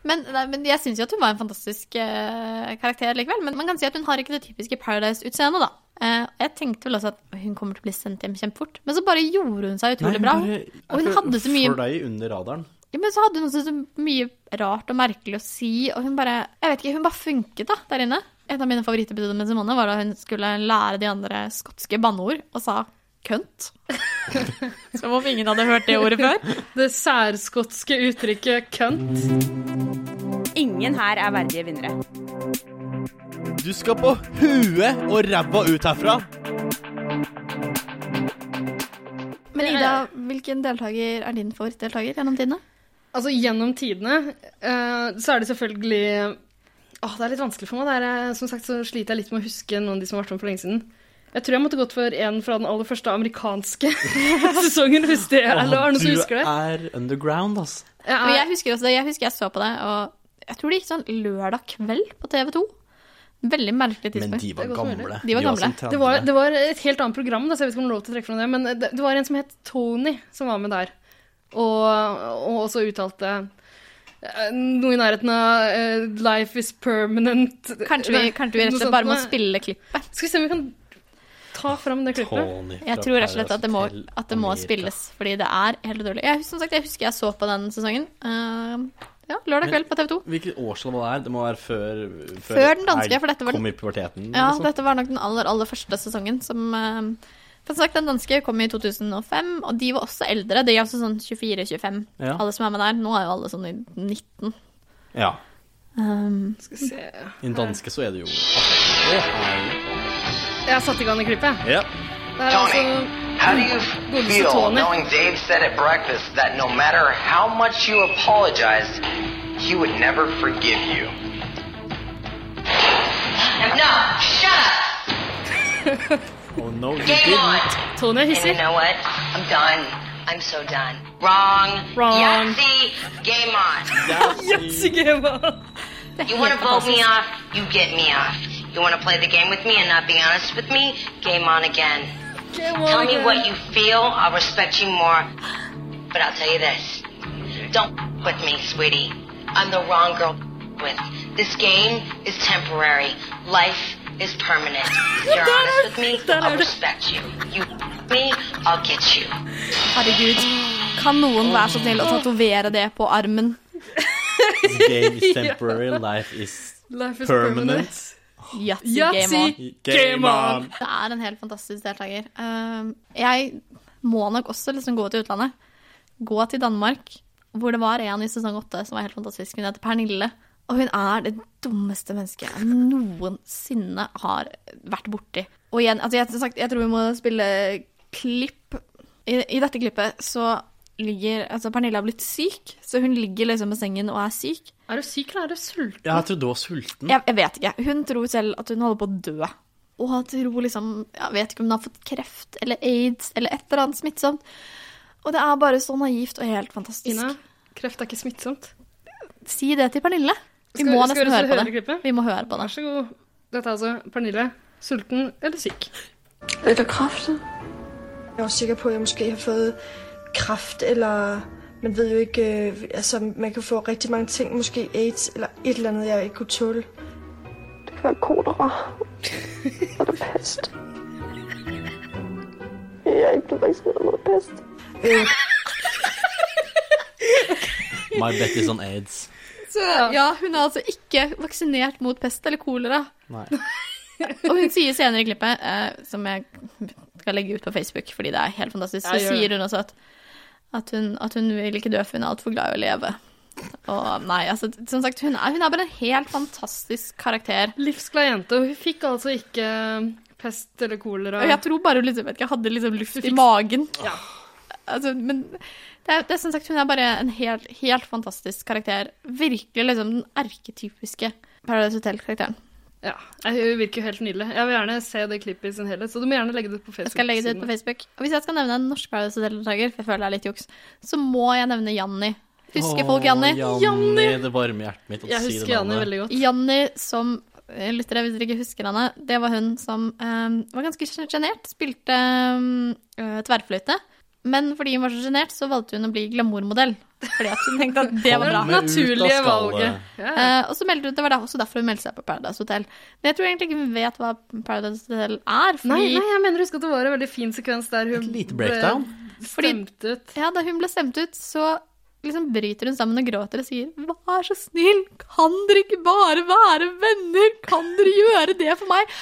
Speaker 2: Men, nei, men jeg syns jo at hun var en fantastisk eh, karakter likevel. Men man kan si at hun har ikke det typiske Paradise-utseendet, da. Eh, jeg tenkte vel også at hun kommer til å bli sendt hjem kjempefort. Men så bare gjorde hun seg utrolig
Speaker 3: Nei,
Speaker 2: bra.
Speaker 3: bare-
Speaker 2: Og hun
Speaker 3: jeg
Speaker 2: hadde så mye-
Speaker 3: For deg under radaren.
Speaker 2: Ja, men så hadde hun også så mye rart og merkelig å si, og hun bare Jeg vet ikke, hun bare funket, da, der inne. Et av mine favorittepisoder med Simone var da hun skulle lære de andre skotske banneord, og sa kønt. Som om ingen hadde hørt det ordet før.
Speaker 1: Det særskotske uttrykket cunt.
Speaker 4: Ingen her er verdige vinnere.
Speaker 3: Du skal på huet og ræva ut herfra.
Speaker 2: Men Ida, hvilken deltaker er din favorittdeltaker gjennom tidene?
Speaker 1: Altså, gjennom tidene eh, så er det selvfølgelig Åh, det er litt vanskelig for meg. Det er, eh, som sagt så sliter jeg litt med å huske noen av de som har vært med for lenge siden. Jeg tror jeg måtte gått for en fra den aller første amerikanske sesongen, hvis det er eller er det noen som husker det.
Speaker 3: Du er underground, ass.
Speaker 1: Jeg er-
Speaker 2: Og jeg husker også det, jeg husker jeg så på det, og jeg tror det gikk sånn lørdag kveld på TV 2. Veldig merkelig
Speaker 3: Men
Speaker 2: tidspunkt.
Speaker 3: de var
Speaker 1: Det går så veldig.
Speaker 3: gamle.
Speaker 2: De var gamle.
Speaker 3: som 30.
Speaker 1: Det var, det var et helt annet program, da, så jeg vet ikke om det er lov til å trekke fram det, men det, det var en som het Tony, som var med der, og, og også uttalte eh, noe i nærheten av eh, 'Life is permanent'.
Speaker 2: Kanskje vi, kanskje vi rett og slett bare må spille klippet.
Speaker 1: Skal vi se om vi kan ta fram det klippet?
Speaker 3: Tony fra
Speaker 2: Jeg tror rett og slett
Speaker 3: Paradise
Speaker 2: at det må,
Speaker 3: Hotel
Speaker 2: at det må
Speaker 3: Amerika.
Speaker 2: spilles, fordi det er helt utrolig. Jeg, som sagt, jeg husker jeg så på den sesongen. eh, ja, lørdag
Speaker 3: Men-
Speaker 2: kveld på TV 2.
Speaker 3: Hvilket årstall det er? Det må være før
Speaker 2: Før den danske,
Speaker 3: jeg
Speaker 2: for dette var-
Speaker 3: Kom i puberteten.
Speaker 2: Ja,
Speaker 3: liksom.
Speaker 2: dette var nok den aller, aller første sesongen som eh, For som sagt, den danske kom i 2005, og de var også eldre. De er også sånn 24-25,
Speaker 3: Ja.
Speaker 2: alle som er med der. Nå er jo alle sånn i 19.
Speaker 3: ja.
Speaker 2: Um,
Speaker 1: Skal vi se.
Speaker 3: I den danske så er det jo Det er-
Speaker 1: Jeg har satt i gang det klippet.
Speaker 3: Ja.
Speaker 1: Det er
Speaker 5: Tony,
Speaker 1: altså
Speaker 5: how do you
Speaker 1: Good to see
Speaker 5: feel
Speaker 1: Tony.
Speaker 5: knowing Dave said at breakfast that no matter how much you apologized, he would never forgive you?
Speaker 6: No, shut up.
Speaker 3: Oh no, you
Speaker 6: Game on.
Speaker 3: didn't.
Speaker 1: Tony er
Speaker 6: And you
Speaker 1: hissig.
Speaker 6: know what? I'm done. I'm so done. Wrong.
Speaker 1: Wrong.
Speaker 6: Yahtzee, game on.
Speaker 1: Yes, Gema!
Speaker 2: det er
Speaker 6: You
Speaker 2: helt
Speaker 6: want to vote me
Speaker 2: fantastisk.
Speaker 6: off? You get me off. You want to play the game with me and not be honest with me? Game on again. Tell me what you feel. I'll respect you more. But I'll tell you this. Don't with me, sweetie. I'm the wrong girl with. This game is temporary. Life is permanent. If you're honest with me, I'll respect you. You me, I'll get you.
Speaker 2: Herregud. Kan noen være så snill å tatovere det på armen?
Speaker 3: The game is temporary, life is
Speaker 1: Life is
Speaker 3: permanent.
Speaker 1: permanent.
Speaker 2: Yatzy, game on.
Speaker 1: Yatzy, game on!
Speaker 2: Det er en helt fantastisk deltaker. Ehm, Jeg må nok også liksom gå til utlandet. Gå til Danmark, hvor det var en i sesong åtte som var helt fantastisk. Hun heter Pernille. Og hun er det dummeste mennesket jeg noensinne har vært borti. Og igjen, altså jeg, som sagt, jeg tror vi må spille klipp. I, i dette klippet så ligger Altså, Pernille har blitt syk, så hun ligger liksom på sengen og er syk.
Speaker 1: Er du syk, eller er du sulten?
Speaker 3: Ja, jeg trodde du var sulten.
Speaker 2: Jeg, jeg vet ikke. Hun tror selv at hun holder på å dø. Mm. Og tror liksom Jeg vet ikke om hun har fått kreft eller aids eller et eller annet smittsomt. Og det er bare så naivt og helt fantastisk.
Speaker 1: Ina, kreft er ikke smittsomt.
Speaker 2: Si det til Pernille. Vi
Speaker 1: Skal-
Speaker 2: må
Speaker 1: skal vi
Speaker 2: nesten
Speaker 1: også
Speaker 2: høre på
Speaker 1: høre
Speaker 2: det.
Speaker 1: klippet?
Speaker 2: Vi må høre på det.
Speaker 1: Vær så god. Dette er altså Pernille. Sulten eller syk?
Speaker 7: Er du kraften? Jeg er også sikker på, at jeg måske har fået kraft, eller man ved jo ikke, øh, altså man kan få rigtig mange ting, måske AIDS, eller et eller andet, jeg ikke kunne tåle. Det kan være kolera, eller pest. Jeg er ikke blevet vaccineret mod pest. Øh,
Speaker 3: My bet is on aids.
Speaker 2: ja, hun er altså ikke vaksinert mot pest eller kolera.
Speaker 3: Nei.
Speaker 2: Og hun sier senere i klippet, eh, som jeg skal legge ut på Facebook fordi det er helt fantastisk, så
Speaker 1: Ja, gjør det.
Speaker 2: sier hun også at, at, hun, at hun vil ikke dø, for hun er altfor glad i å leve. Og nei, altså, som sagt, hun er, hun er bare en helt fantastisk karakter.
Speaker 1: Livsglad jente, og hun fikk altså ikke pest eller kolera.
Speaker 2: Og jeg tror bare hun liksom, vet ikke, hadde liksom luft i magen. altså, men det, er- det er som sagt, hun er bare en helt, helt fantastisk karakter. Virkelig liksom den arketypiske Paradise Hotel-karakteren.
Speaker 1: Ja, Nei, Hun virker jo helt nydelig. Jeg vil gjerne se det klippet i sin helhet, så du må gjerne legge det ut på Facebook.
Speaker 2: Jeg skal legge det ut på Facebook. Og hvis jeg skal nevne en norsk Paradise Hotel-deltaker, for jeg føler det er litt juks, så må jeg nevne Janni. Husker folk Janni?
Speaker 3: Janni, det varme hjertet mitt. at
Speaker 1: Jeg
Speaker 3: du sier
Speaker 1: husker
Speaker 3: det
Speaker 1: Janne
Speaker 3: navnet.
Speaker 1: veldig godt.
Speaker 2: Janni som eh, lyttere, hvis dere ikke husker henne, det var hun som eh, var ganske sjenert. Spilte eh, tverrfløyte. Men fordi hun var så sjenert, så valgte hun å bli glamourmodell. Fordi at hun tenkte at det var bra.
Speaker 3: Med ut av
Speaker 1: Naturlige
Speaker 3: skallet.
Speaker 1: valget. Ja.
Speaker 2: Eh, og så meldte hun, Det var da, også derfor hun meldte seg på Paradise Hotel. Men jeg tror egentlig ikke hun vet hva Paradise Hotel er. Fordi,
Speaker 1: Nei, nei, jeg mener husk at det var en veldig fin sekvens der hun
Speaker 3: Et lite breakdown.
Speaker 1: ble stemt ut.
Speaker 2: Ja, Da hun ble stemt ut, så liksom bryter hun sammen og gråter og sier Vær så snill, kan dere ikke bare være venner? Kan dere gjøre det for meg?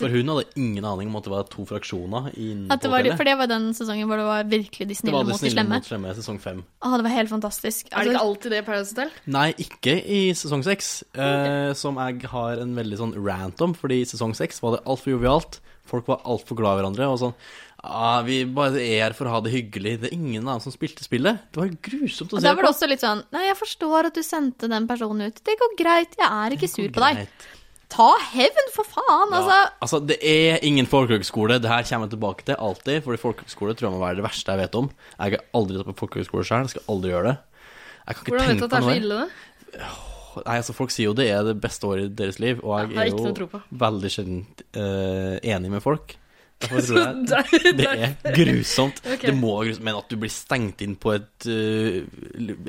Speaker 3: For hun hadde ingen aning om at det var to fraksjoner inne
Speaker 2: At
Speaker 3: på
Speaker 2: det var,
Speaker 3: hotellet.
Speaker 2: for det var den sesongen hvor det var virkelig de
Speaker 3: det
Speaker 2: snille
Speaker 3: var det
Speaker 2: mot de
Speaker 3: snille
Speaker 2: slemme.
Speaker 3: mot slemme, sesong fem.
Speaker 2: Å, det var helt fantastisk.
Speaker 1: Er det
Speaker 2: Altså,
Speaker 1: ikke alltid det i Paradise Hotel?
Speaker 3: Nei, ikke i sesong seks, eh, som jeg har en veldig sånn rant om. Fordi i sesong seks var det altfor jovialt. Folk var altfor glad i hverandre. Og sånn ah, 'Vi bare er her for å ha det hyggelig.' Det er ingen annen som spilte spillet. Det var grusomt å
Speaker 2: og
Speaker 3: se
Speaker 2: da var det også litt sånn Nei, jeg forstår at du sendte den personen ut. Det går greit, jeg er ikke sur på deg.
Speaker 3: Greit.
Speaker 2: Ta hevn, for faen!
Speaker 3: Ja.
Speaker 2: Altså,
Speaker 3: altså, det er ingen folkehøgskole. Det her kommer jeg tilbake til alltid. Fordi folkehøgskole tror jeg må være det verste jeg vet om. Jeg har aldri tatt på folkehøgskole sjøl. Skal aldri gjøre det. Jeg kan ikke
Speaker 1: Hvordan vet du at
Speaker 3: tenke
Speaker 1: det er
Speaker 3: på noe
Speaker 1: så
Speaker 3: der.
Speaker 1: ille, da?
Speaker 3: Nei, altså, folk sier jo det er det beste året i deres liv, og jeg
Speaker 1: Ja, det er
Speaker 3: er
Speaker 1: ikke noe å tro
Speaker 3: jo
Speaker 1: på.
Speaker 3: veldig sjelden eh, enig med folk. Derfor tror jeg
Speaker 1: der,
Speaker 3: det
Speaker 1: der.
Speaker 3: er grusomt.
Speaker 1: Ok.
Speaker 3: Det må være grusomt. Men at du blir stengt inn på et, eh,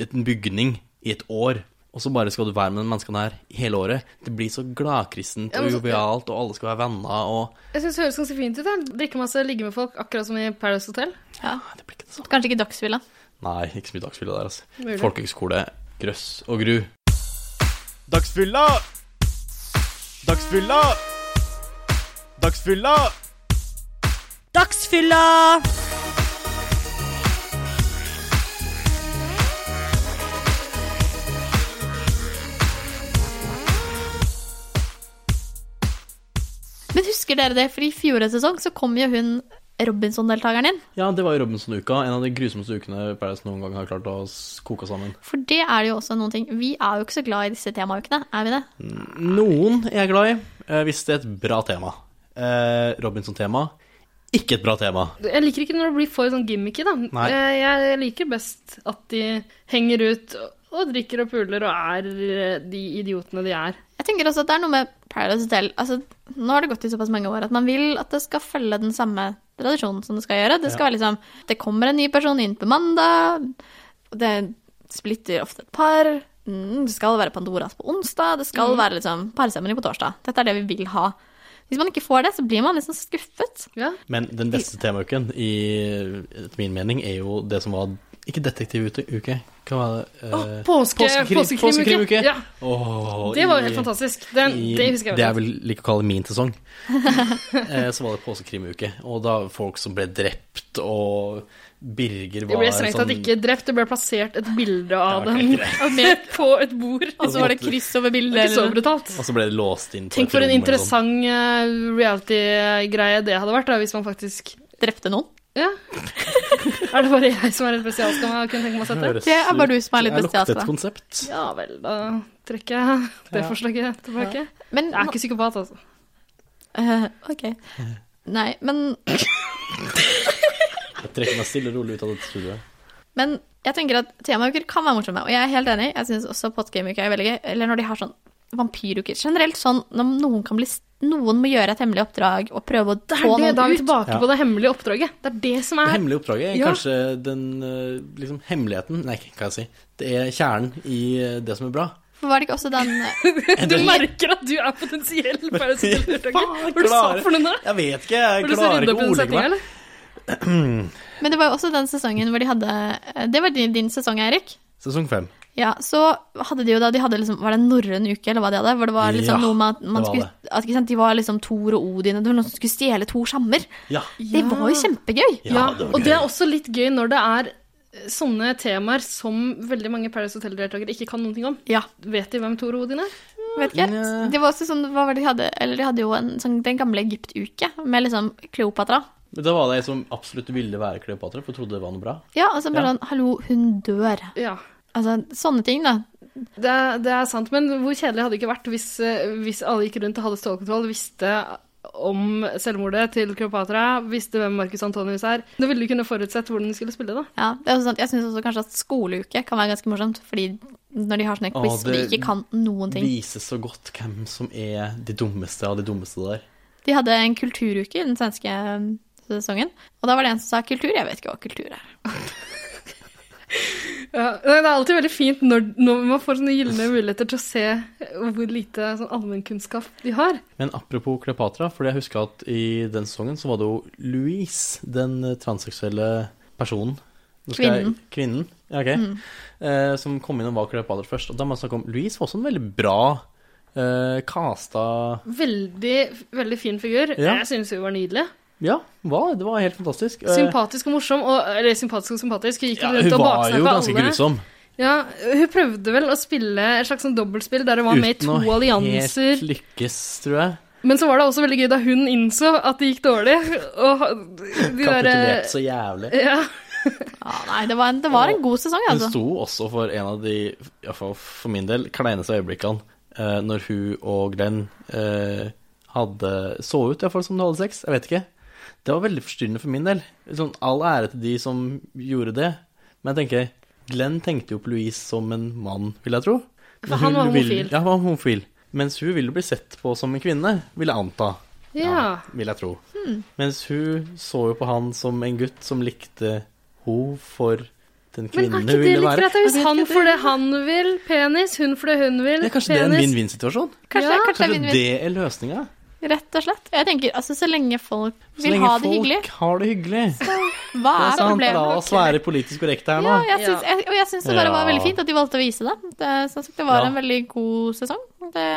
Speaker 3: et, en bygning i et år, og så bare skal du være med de menneskene her hele året. Det blir så gladkristent
Speaker 1: Ja,
Speaker 3: og
Speaker 1: men så-
Speaker 3: jovialt, og alle skal være venner, og
Speaker 1: Jeg syns det høres ganske fint ut. Jeg. Drikke masse, ligge med folk, akkurat som i Paradise Hotel.
Speaker 3: Nei, det blir ikke sånn. det samme.
Speaker 2: kanskje ikke Dagsfylla.
Speaker 3: Nei, ikke så mye dagsfylla der, altså.
Speaker 1: Mulig.
Speaker 3: Folkehøgskole, grøss og gru.
Speaker 8: Dagsfylla! Dagsfylla! Dagsfylla!
Speaker 4: Dagsfylla!
Speaker 2: Men husker dere det, for i fjorårets sesong så kom jo hun Robinson-deltakeren inn.
Speaker 3: Ja, det var jo Robinson-uka. En av de grusomste ukene Paradise noen gang har klart å s- koke sammen.
Speaker 2: For det er det jo også noen ting Vi er jo ikke så glad i disse temaukene, er vi det?
Speaker 3: Noen er jeg glad i, eh, hvis det er et bra tema. Eh, Robinson-tema, ikke et bra tema.
Speaker 1: Jeg liker ikke når det blir for sånn gimmicky, da.
Speaker 3: Nei.
Speaker 1: Jeg, jeg liker best at de henger ut og drikker og puler og er eh, de idiotene de er.
Speaker 2: Jeg tenker også at det er noe med Paradise Hotel altså, Nå har det gått i såpass mange år at man vil at det skal følge den samme tradisjonen som det skal gjøre. Det skal være liksom Det kommer en ny person inn på mandag, og det splitter ofte et par. Mm, det skal være Pandoras på onsdag, det skal være liksom parseremoni på torsdag. Dette er det vi vil ha. Hvis man ikke får det, så blir man liksom skuffet.
Speaker 1: Ja.
Speaker 3: Men den beste temauken, i- etter min mening, er jo det som var Ikke detektivuke, hva var det? Eh,
Speaker 1: Påske,
Speaker 3: påskekrim-
Speaker 1: påskekrimuke.
Speaker 3: påskekrimuke.
Speaker 1: Ja,
Speaker 3: åh,
Speaker 1: det var jo
Speaker 3: i-
Speaker 1: helt fantastisk. Den,
Speaker 3: i-
Speaker 1: det husker jeg
Speaker 3: Det jeg
Speaker 1: veldig godt.
Speaker 3: vil like å kalle min sesong. Eh, så var det påskekrimuke, og da folk som ble drept, og Birger var
Speaker 1: Det ble strengt
Speaker 3: sånn-
Speaker 1: tatt ikke drept, det ble plassert et bilde av
Speaker 3: Ja, ok,
Speaker 1: dem
Speaker 3: greit. Altså,
Speaker 1: på et bord. Det
Speaker 3: så var det
Speaker 2: kryss over
Speaker 1: er
Speaker 2: bildet.
Speaker 1: ikke så brutalt.
Speaker 3: Og så ble det låst inn på
Speaker 1: Tenk
Speaker 3: et
Speaker 1: for en
Speaker 3: rom eller sånn.
Speaker 1: interessant eh, reality-greie det hadde vært, da, hvis man faktisk
Speaker 2: Drepte noen.
Speaker 1: Ja. er det bare jeg som er en spesialskamma og kunne tenke meg å sette det?
Speaker 3: Høres
Speaker 2: Det er bare du som er litt
Speaker 3: Jeg lukter et
Speaker 2: bestialsk.
Speaker 3: konsept.
Speaker 1: Ja vel, da trekker jeg det forslaget tilbake.
Speaker 2: Men
Speaker 1: Jeg er ikke psykopat, altså.
Speaker 2: Eh, ok. Nei, men,
Speaker 3: Jeg trekker meg stille og rolig ut av dette studioet.
Speaker 2: men jeg tenker at temauker kan være morsomme, og jeg er helt enig. Jeg syns også podgameuker er veldig gøy. Eller når de har sånn vampyruker. Generelt sånn når noen kan bli Noen må gjøre et hemmelig oppdrag og prøve å
Speaker 1: Det
Speaker 2: få
Speaker 1: er det da er
Speaker 2: noen
Speaker 1: vi
Speaker 2: ut.
Speaker 1: tilbake
Speaker 3: Ja.
Speaker 1: på det hemmelige oppdraget. Det er det som
Speaker 3: Det
Speaker 1: er
Speaker 3: hemmelige oppdraget er
Speaker 1: Ja.
Speaker 3: kanskje den eh, liksom, hemmeligheten Nei, hva kan jeg si. Det er kjernen i eh, det som er bra.
Speaker 2: For var det ikke også den
Speaker 1: Du merker at du er potensiell parasitelldeltaker.
Speaker 3: Faen,
Speaker 1: Hva du sa
Speaker 3: klarer-
Speaker 1: for noe nå?
Speaker 3: Jeg vet ikke, jeg
Speaker 1: Har du lyst til å
Speaker 3: klarer
Speaker 1: rydde
Speaker 3: ikke
Speaker 1: opp
Speaker 3: å
Speaker 1: i den
Speaker 3: ordlegge
Speaker 1: setninga,
Speaker 3: meg.
Speaker 1: eller?
Speaker 2: Men det var jo også den sesongen hvor de hadde eh, Det var din, din sesong, Eirik.
Speaker 3: Sesong fem.
Speaker 2: Ja, så hadde de jo da de hadde liksom, Var det en norrøn uke, eller hva de hadde? Hvor det var liksom
Speaker 3: Ja,
Speaker 2: noe med at
Speaker 3: det
Speaker 2: man
Speaker 3: var
Speaker 2: skulle at, ikke sant, De var liksom Thor og Odin, og det var noen som skulle stjele to skjammer.
Speaker 3: Ja.
Speaker 2: Det var jo kjempegøy.
Speaker 3: Ja,
Speaker 1: Ja,
Speaker 3: det var
Speaker 1: og
Speaker 3: gøy.
Speaker 1: det er også litt gøy når det er eh, sånne temaer som veldig mange Paris Hotel-deltakere ikke kan noen ting om.
Speaker 2: Ja.
Speaker 1: Vet de hvem Tor og Odin er?
Speaker 2: Vet ikke.
Speaker 3: Nja.
Speaker 2: Det var også sånn, hva var det de hadde? Eller de hadde jo en sånn, den gamle Egypt-uke med liksom Kleopatra.
Speaker 3: Men da var det jeg som absolutt ville være Kleopatra, for jeg trodde det var noe bra.
Speaker 2: Ja, og så bare
Speaker 3: Ja.
Speaker 2: sånn Hallo, hun dør.
Speaker 1: Ja.
Speaker 2: Altså, sånne ting, da.
Speaker 1: Det, er- det er sant, men hvor kjedelig hadde det ikke vært hvis, eh, hvis alle gikk rundt og hadde stålkontroll, visste om selvmordet til Kleopatra, visste hvem Marcus Antonius er. Da ville du kunne forutsett hvordan du skulle spille, da.
Speaker 2: Ja, det er også sant. Jeg syns også kanskje at skoleuke kan være ganske morsomt, fordi når de har sånne
Speaker 3: Å,
Speaker 2: quiz hvor de
Speaker 3: det
Speaker 2: ikke kan noen ting.
Speaker 3: Vise så godt hvem som er de dummeste av de dummeste der.
Speaker 2: De hadde en kulturuke i den svenske um, sesongen, og da var det en som sa kultur. Jeg vet ikke hva kultur er.
Speaker 1: Ja, nei, det er alltid veldig fint når, når man får sånne gylne muligheter til å se hvor lite sånn allmennkunnskap de har.
Speaker 3: Men apropos Kleopatra, fordi jeg husker at i den sesongen så var det jo Louise, den eh, transseksuelle personen. Nå skal jeg-
Speaker 2: Kvinnen.
Speaker 3: kvinnen, ja, ok.
Speaker 1: Mm.
Speaker 3: Eh, som kom inn og var Kleopatra først. Og da må jeg snakke om Louise var også en veldig bra eh, casta
Speaker 1: Veldig, veldig fin figur.
Speaker 3: Ja.
Speaker 1: Jeg synes hun var nydelig.
Speaker 3: Ja, hun var, det var helt fantastisk. Eh,
Speaker 1: Sympatisk og morsom, og, eller sympatisk og sympatisk. Hun gikk
Speaker 3: ja,
Speaker 1: rundt
Speaker 3: hun
Speaker 1: og
Speaker 3: var jo
Speaker 1: baksnakka
Speaker 3: ganske
Speaker 1: alle.
Speaker 3: grusom.
Speaker 1: Ja, hun prøvde vel å spille et slags sånn dobbeltspill der hun var med i to allianser.
Speaker 3: helt lykkes, tror jeg.
Speaker 1: Men så var det også veldig gøy da hun innså at det gikk dårlig. Og de
Speaker 3: Kapitulerte
Speaker 1: derre
Speaker 3: så jævlig.
Speaker 1: ja,
Speaker 2: Ja, nei, det var en, det var en god sesong,
Speaker 3: Hun
Speaker 2: altså.
Speaker 3: sto også for en av de, iallfall for min del, kleineste øyeblikkene eh, når hun og Glenn eh, hadde Så ut iallfall som de hadde sex, jeg vet ikke. Det var veldig forstyrrende for min del. Sånn, all ære til de som gjorde det, men jeg tenker Glenn tenkte jo på Louise som en mann, vil jeg tro. Men
Speaker 1: For han
Speaker 3: hun
Speaker 1: var
Speaker 3: vil-
Speaker 1: homofil.
Speaker 3: Ja, han var homofil. Mens hun ville bli sett på som en kvinne, vil jeg anta.
Speaker 1: ja.
Speaker 3: vil jeg tro.
Speaker 2: Hmm.
Speaker 3: Mens hun så jo på han som en gutt som likte ho for den
Speaker 1: Men
Speaker 3: kvinnen
Speaker 1: er
Speaker 3: hun
Speaker 1: ikke det
Speaker 3: ville
Speaker 1: litt
Speaker 3: være.
Speaker 1: greit? da? Hvis han får det han vil, penis, hun får det hun vil,
Speaker 3: Ja, kanskje det er en
Speaker 1: penis
Speaker 3: vinn-vinn-situasjon?
Speaker 1: Ja.
Speaker 2: Kanskje, kanskje det er
Speaker 3: Kanskje
Speaker 2: vinn-vinn.
Speaker 3: det er løsninga?
Speaker 2: Rett og slett. Jeg tenker, altså, Så lenge folk
Speaker 3: Så
Speaker 2: vil
Speaker 3: lenge
Speaker 2: ha det
Speaker 3: folk
Speaker 2: hyggelig,
Speaker 3: har det hyggelig.
Speaker 2: hva
Speaker 3: Det er
Speaker 2: er
Speaker 3: sant, altså.
Speaker 2: problemet?
Speaker 3: la oss være politisk korrekte her
Speaker 2: Ja,
Speaker 3: nå.
Speaker 2: jeg syns, jeg, og jeg syns det bare var
Speaker 3: Ja.
Speaker 2: veldig fint at de valgte å vise det. Det, som sagt, det var
Speaker 3: Ja.
Speaker 2: en veldig god sesong. Det,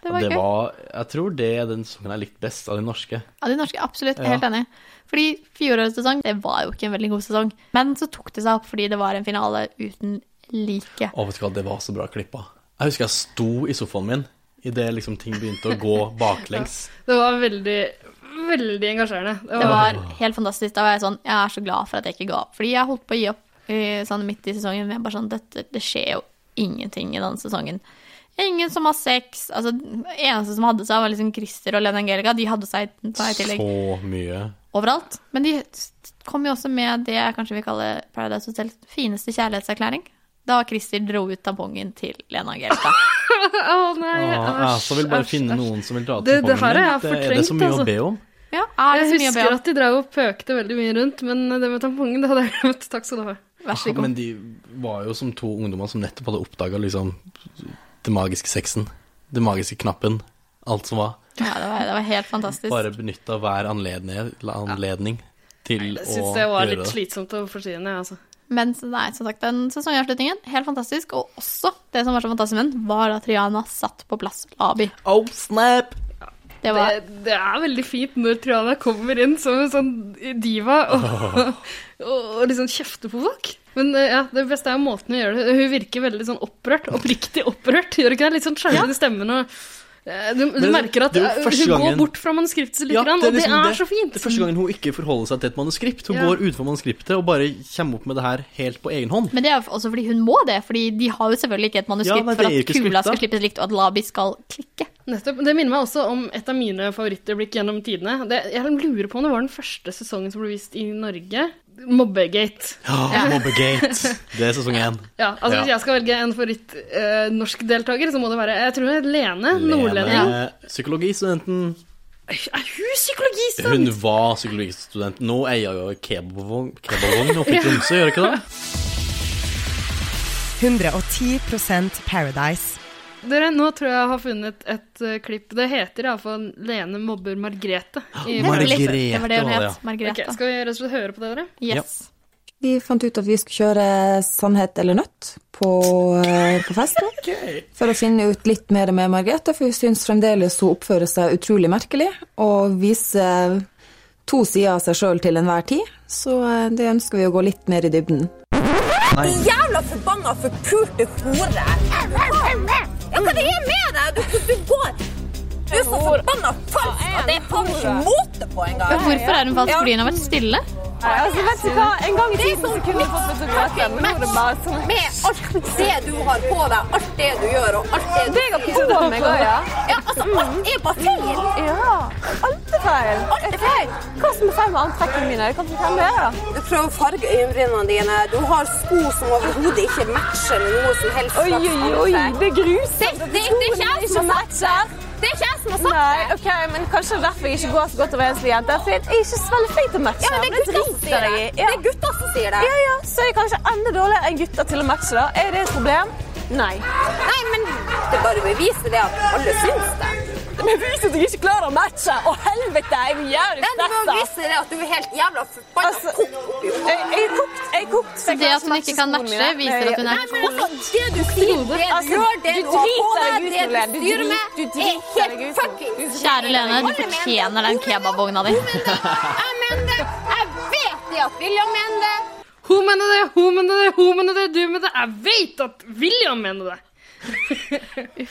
Speaker 2: det var
Speaker 3: det
Speaker 2: gøy.
Speaker 3: var, jeg tror det er den sesongen jeg likte best av de norske.
Speaker 2: Ja, de norske, absolutt.
Speaker 3: Ja.
Speaker 2: Helt enig. Fordi fjorårets sesong, det var jo ikke en veldig god sesong. Men så tok det seg opp fordi det var en finale uten like.
Speaker 3: Å, vet du hva, det var så bra klippa. Jeg husker jeg sto i sofaen min idet liksom ting begynte å gå baklengs.
Speaker 1: Det var veldig, veldig engasjerende. Det
Speaker 2: Det
Speaker 1: var,
Speaker 2: var helt fantastisk. Da var jeg sånn Jeg er så glad for at jeg ikke ga opp. Fordi jeg holdt på å gi opp eh, sånn midt i sesongen. Men jeg bare sånn Dette, det skjer jo ingenting i denne sesongen. Ingen som har sex. Altså, eneste som hadde seg, var liksom Christer og Lene Angelica. De hadde seg i i tillegg
Speaker 3: Så mye.
Speaker 2: overalt. Men de kom jo også med det jeg kanskje vil kalle Paradise Hotels fineste kjærlighetserklæring. Da Christer dro ut tampongen til Lena Angelica.
Speaker 1: å nei,
Speaker 3: Å, jeg
Speaker 1: æsj.
Speaker 3: så vil bare
Speaker 1: æsj,
Speaker 3: finne
Speaker 1: æsj.
Speaker 3: noen som vil dra til
Speaker 1: Det- det her har jeg
Speaker 3: Det er det så
Speaker 1: fortrengt,
Speaker 3: mye
Speaker 1: altså.
Speaker 3: å be om.
Speaker 2: Ja, er det
Speaker 1: Jeg
Speaker 2: så mye å be
Speaker 1: husker
Speaker 2: om?
Speaker 1: at de drev og pøkte veldig mye rundt, men det med tampongen, det hadde jeg glemt. Takk skal du ha.
Speaker 2: Vær så
Speaker 3: Ja,
Speaker 2: god.
Speaker 3: Men de var jo som to ungdommer som nettopp hadde oppdaga liksom, det magiske sexen. Det magiske knappen. Alt som var.
Speaker 2: Ja, det, var, det var helt fantastisk.
Speaker 3: Bare benytta hver anledning, anledning til
Speaker 1: Jeg
Speaker 3: å
Speaker 1: syns det var
Speaker 3: gjøre
Speaker 1: litt
Speaker 3: det.
Speaker 1: slitsomt og forstyrrende, jeg, altså.
Speaker 2: Men så- nei, som sagt, den sesongavslutningen, helt fantastisk. Og også det som var så fantastisk med den, var at Triana satt på plass Abi.
Speaker 3: Oh, snap!
Speaker 2: Det
Speaker 1: Det,
Speaker 2: var
Speaker 1: det er veldig fint når Triana kommer inn som en sånn diva og, og, og liksom kjefter på folk. Men eh, ja, det beste er jo måten hun gjør det Hun virker veldig sånn opprørt. Oppriktig opprørt. Gjør hun ikke det? Litt sånn skjelven i stemmen og eh, du, du
Speaker 3: Men
Speaker 1: merker at
Speaker 3: det er jo
Speaker 1: eh,
Speaker 3: første
Speaker 1: hun
Speaker 3: gangen-
Speaker 1: går bort fra manuskriptet litt, grann, og det er så fint.
Speaker 3: liksom Det er første gangen hun ikke forholder seg til et manuskript. Hun
Speaker 1: Ja.
Speaker 3: går utenfor manuskriptet og bare kommer opp med det her helt på egen hånd.
Speaker 2: Men det er jo også fordi hun må det, fordi de har jo selvfølgelig ikke et manuskript
Speaker 3: Ja, nei, det
Speaker 2: for
Speaker 3: er jo
Speaker 2: at
Speaker 3: ikke
Speaker 2: kula
Speaker 3: skriptet.
Speaker 2: skal slippes likt, og at Labi skal klikke.
Speaker 1: Nettopp. Det minner meg også om et av mine favorittøyeblikk gjennom tidene. Det, jeg lurer på om det var den første sesongen som ble vist i Norge. Mobbegate.
Speaker 3: Ja, Mobbegate. Det er sesong én.
Speaker 1: Ja, altså Hvis
Speaker 3: Ja.
Speaker 1: jeg skal velge en favoritt eh, norsk deltaker, så må det være jeg tror det er Lene, nordlending.
Speaker 3: Lene, Psykologistudenten.
Speaker 1: Er hun psykologistudent?
Speaker 3: Hun var psykologistudent. Nå eier hun jo kebabvogn kebabvogn oppe i Tromsø, gjør hun ikke det?
Speaker 9: 110 Paradise.
Speaker 1: Dere, Nå tror jeg jeg har funnet et eh, klipp. Det heter iallfall 'Lene mobber Margrethe'. i-
Speaker 3: Margrethe.
Speaker 2: Det var det hun
Speaker 3: Margrethe,
Speaker 2: het. Margrethe.
Speaker 1: Ok, skal vi rett og slett høre på det, dere?
Speaker 2: Yes.
Speaker 9: Vi fant ut at vi skulle kjøre Sannhet eller nøtt på, eh, på festen. For å finne ut litt mer med Margrethe, for vi syns fremdeles hun oppfører seg utrolig merkelig. Og viser to sider av seg sjøl til enhver tid. Så eh, det ønsker vi å gå litt mer i dybden.
Speaker 4: Jævla forbanna forpulte hore! Ja, hva det er med deg? Du, du går Du er så forbanna falsk at jeg tar ikke imot det på engang.
Speaker 2: Men hvorfor er hun falsk? Fordi hun har vært stille?
Speaker 10: Nei, altså, vet du hva? En gang i tiden så kunne du fått fotografe, men nå er det bare sånn
Speaker 4: Med alt det du har på deg, alt det du gjør og alt det du
Speaker 10: Det jeg har på meg også, ja.
Speaker 4: Ja, altså, alt er bare feil.
Speaker 10: Ja. Alt er feil.
Speaker 4: Alt er feil.
Speaker 10: Hva som er feil med antrekkene mine? Jeg kan ikke fortelle det, da.
Speaker 4: Du prøver å farge øyenbrynene dine. Du har sko som overhodet ikke matcher med noe som helst.
Speaker 10: Oi, oi, oi, det er grusomt.
Speaker 4: Det- det er ikke jeg som har sagt det. Det er ikke jeg som har sagt
Speaker 10: Nei,
Speaker 4: det.
Speaker 10: ok, men Kanskje det er derfor jeg ikke går så godt overens med jenter. For jeg er ikke så veldig flink til å matche.
Speaker 4: Ja, men det er gutta som sier det.
Speaker 10: driter jeg i.
Speaker 4: Det er gutta som sier det.
Speaker 10: Ja, ja, Så er jeg kanskje enda dårligere enn gutter til å matche, da. Er det et problem? Nei.
Speaker 4: Nei, men det bare beviser det at alle syns det.
Speaker 10: Det beviser at jeg ikke klarer å matche. Å, helvete! Jeg blir jævlig
Speaker 4: Det du
Speaker 10: stressa.
Speaker 4: beviser det at du er helt jævla forbanna kokt oppi hodet.
Speaker 10: Jeg jeg er kokt. Jeg er kokt.
Speaker 2: Så det at hun ikke kan matche, viser at hun er
Speaker 4: Men altså, det du sier, det du gjør, det du har på deg, det du styrer med, er helt fuckings
Speaker 2: Kjære Lene, du fortjener den kebabvogna di.
Speaker 4: Jeg mener det! Jeg vet det at William mener det!
Speaker 1: Hun mener det, hun mener det, hun mener det, du mener det. Jeg vet at William mener det.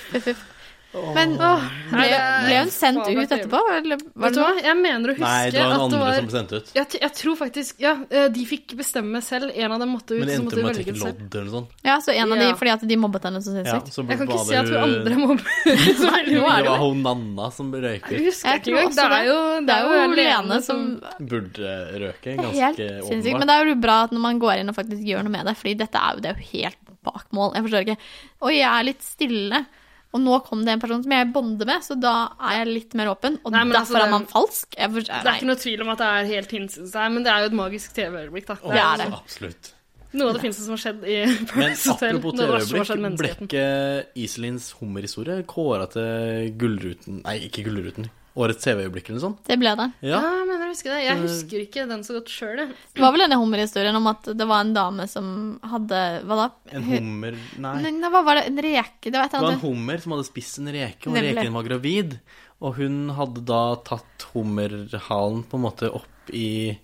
Speaker 2: Men ble,
Speaker 1: Nei, det
Speaker 2: ble
Speaker 1: er
Speaker 2: hun sendt
Speaker 1: faen meg
Speaker 2: ut etterpå? Eller var
Speaker 1: Vet du
Speaker 2: det
Speaker 1: hva,
Speaker 2: noe?
Speaker 1: jeg mener å huske
Speaker 3: Nei, det var
Speaker 1: at
Speaker 3: noen
Speaker 1: det
Speaker 3: andre
Speaker 1: var
Speaker 3: som ble sendt ut.
Speaker 1: jeg, t- jeg tror faktisk Ja, eh, de fikk bestemme selv. En av dem måtte ut.
Speaker 3: Men det
Speaker 1: så
Speaker 3: endte
Speaker 1: måtte de
Speaker 3: med å
Speaker 1: velge
Speaker 3: trekke
Speaker 1: den selv.
Speaker 3: lodd eller noe sånt.
Speaker 2: Ja, så en av de
Speaker 1: Ja.
Speaker 2: fordi at de mobbet henne så sinnssykt.
Speaker 3: så
Speaker 1: Jeg kan
Speaker 3: var
Speaker 1: ikke si at
Speaker 3: det-
Speaker 1: hun andre mobber så veldig
Speaker 3: Det
Speaker 1: mye.
Speaker 3: var hun Nanna som
Speaker 1: Jeg
Speaker 3: røyker.
Speaker 1: husker
Speaker 2: Jeg
Speaker 1: ikke
Speaker 2: tror
Speaker 1: engang.
Speaker 2: også
Speaker 1: Det er jo, det er jo
Speaker 2: Lene som
Speaker 3: Burde røke,
Speaker 2: Det er Helt
Speaker 3: ganske
Speaker 2: sinnssykt. Men
Speaker 3: åpenbart.
Speaker 2: det er jo bra at når man går inn og faktisk gjør noe med det, fordi dette er jo, det er jo helt bak mål. Jeg forstår ikke. Oi, jeg er litt stille. Og nå kom det en person som jeg bonder med, så da er jeg litt mer åpen. Og
Speaker 1: Nei, men altså,
Speaker 2: derfor
Speaker 1: det-
Speaker 2: er man falsk. Jeg forstår,
Speaker 1: Det er ikke noe
Speaker 2: nei.
Speaker 1: tvil om at det er helt hinsides her, men det er jo et magisk TV-øyeblikk. da.
Speaker 3: Å,
Speaker 2: det er det.
Speaker 3: Absolutt.
Speaker 1: Noe av det fineste som har skjedd i
Speaker 3: Men
Speaker 1: Paradise Hotel.
Speaker 3: apropos
Speaker 1: noe av det verste som har skjedd
Speaker 3: TV-øyeblikk, ble
Speaker 1: menneskeheten.
Speaker 3: ikke Iselins hummerhistorie kåra til Gullruten Nei, ikke Gullruten. Årets TV-øyeblikk eller noe sånt?
Speaker 2: Det ble det.
Speaker 1: Ja,
Speaker 3: Ja.
Speaker 1: jeg mener jeg husker det. Jeg husker ikke den så godt sjøl, jeg.
Speaker 2: Det var vel denne hummerhistorien om at det var en dame som hadde Hva da?
Speaker 3: En hummer Nei.
Speaker 2: Nei, hva var det? En reke? Det var et
Speaker 3: Det
Speaker 2: eller
Speaker 3: var en
Speaker 2: annet.
Speaker 3: hummer som hadde spist en reke, og
Speaker 2: Nemlig.
Speaker 3: reken var gravid. Og hun hadde da tatt hummerhalen på en måte opp i,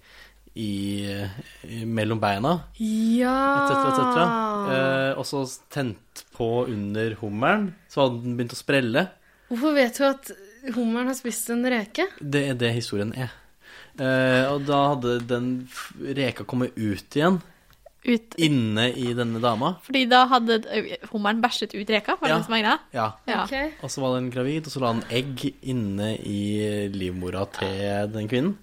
Speaker 3: i, i mellom beina.
Speaker 1: Ja
Speaker 3: Et cetera, et cetera. Eh, og så tent på under hummeren, så hadde den begynt å sprelle.
Speaker 1: Hvorfor vet du at hummeren har spist en reke?
Speaker 3: Det er det historien er. Eh, og da hadde den f- reka kommet ut igjen,
Speaker 2: Ut,
Speaker 3: inne i denne dama.
Speaker 2: fordi da hadde ø, hummeren bæsjet ut reka, var det
Speaker 3: Ja.
Speaker 2: det som var greia?
Speaker 3: Ja.
Speaker 2: Ja.
Speaker 1: Ok.
Speaker 3: Og så var den gravid, og så la den egg inne i livmora til den kvinnen.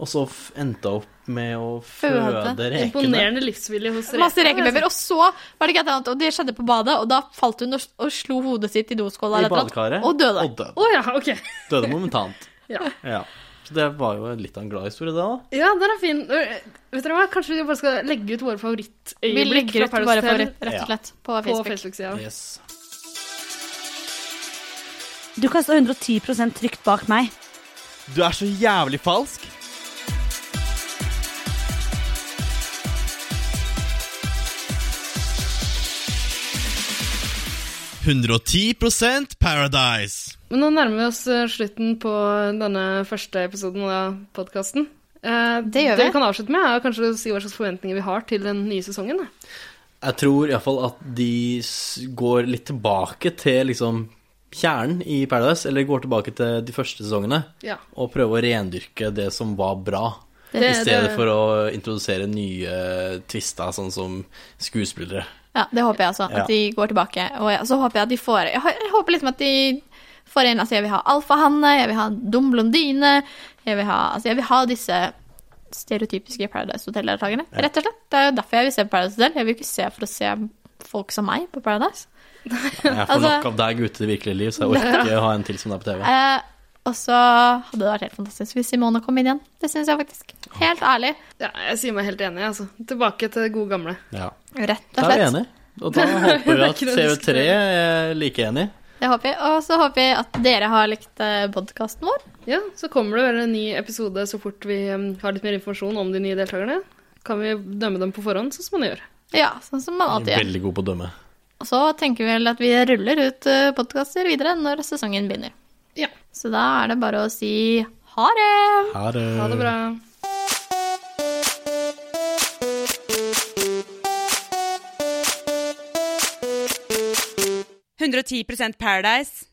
Speaker 3: Og så f- endte hun opp med å føde
Speaker 2: Føde.
Speaker 3: rekene.
Speaker 1: Imponerende livsvilje hos reker.
Speaker 2: Masse rekebabyer. Og så var det ikke et eller annet, og det skjedde på badet, og da falt hun og, og slo hodet sitt i doskåla
Speaker 3: I
Speaker 2: eller et eller
Speaker 3: badekaret.
Speaker 2: annet, og døde.
Speaker 3: Og døde.
Speaker 1: Å ja, ok.
Speaker 3: Døde momentant.
Speaker 1: Ja.
Speaker 3: ja. Så det var jo litt av en glad historie, det òg.
Speaker 1: Ja, den er fin. Øh, Vet dere hva? Kanskje vi bare skal legge ut våre
Speaker 2: Vi
Speaker 1: favorittøyeblikk
Speaker 2: legger
Speaker 1: fra
Speaker 2: ut våre
Speaker 1: Paradise Hotel
Speaker 2: favoritt, rett
Speaker 3: Ja.
Speaker 2: og slett, på
Speaker 1: på
Speaker 2: Facebook.
Speaker 1: Facebook-sida.
Speaker 3: Yes.
Speaker 11: Du kan stå 110 trygt bak meg.
Speaker 8: Du er så jævlig falsk. «110% Paradise.
Speaker 1: Men nå nærmer vi oss eh, slutten på denne første episoden av podkasten.
Speaker 2: Det gjør vi.
Speaker 1: Det vi kan avslutte med, er kanskje å si hva slags forventninger vi har til den nye sesongen. Da.
Speaker 3: Jeg tror iallfall at de s- går litt tilbake til liksom kjernen i Paradise, eller går tilbake til de første sesongene,
Speaker 1: Ja.
Speaker 3: og prøver å rendyrke det som var bra. I
Speaker 1: Det-
Speaker 3: stedet
Speaker 1: det-
Speaker 3: for å introdusere nye twister, sånn som skuespillere.
Speaker 2: Ja, det håper jeg også, at
Speaker 3: Ja.
Speaker 2: de går tilbake. Og jeg- så håper jeg at de får Jeg, har- jeg håper liksom at de får inn Altså, jeg vil ha alfahanne, jeg vil ha dum blondine, jeg vil ha Altså, jeg vil ha disse stereotypiske Paradise Hotel-deltakerne, rett og slett. Det er jo derfor jeg vil se på Paradise Hotel. Jeg vil ikke se for å se folk som meg på Paradise.
Speaker 3: Jeg får
Speaker 2: Altså-
Speaker 3: nok av deg ute i det virkelige liv, så jeg orker ikke å ha en til som deg på TV.
Speaker 2: Eh, og så hadde det vært helt fantastisk hvis Simone kom inn igjen. Det syns jeg faktisk. Helt ærlig.
Speaker 1: Ja, jeg sier meg helt enig. Altså. Tilbake til det gode gamle.
Speaker 3: Ja.
Speaker 2: Rett
Speaker 3: Da
Speaker 2: og
Speaker 3: er vi
Speaker 2: slett.
Speaker 3: enige. Og da håper vi at
Speaker 1: Det er ikke noe å
Speaker 3: TV3
Speaker 1: diskutere.
Speaker 3: er like enig.
Speaker 2: Det håper jeg. Og så håper jeg at dere har likt podkasten vår.
Speaker 1: Ja, Så kommer det vel en ny episode så fort vi eh, har litt mer informasjon om de nye deltakerne. Kan vi dømme dem på forhånd, sånn som man gjør.
Speaker 2: Ja, sånn som man alltid gjør.
Speaker 3: Veldig god på å dømme.
Speaker 2: Og så tenker vi vel at vi ruller ut podkaster videre når sesongen begynner.
Speaker 1: Ja.
Speaker 2: Så da er det bare å si ha det!
Speaker 1: Ha det bra.
Speaker 10: Paradise.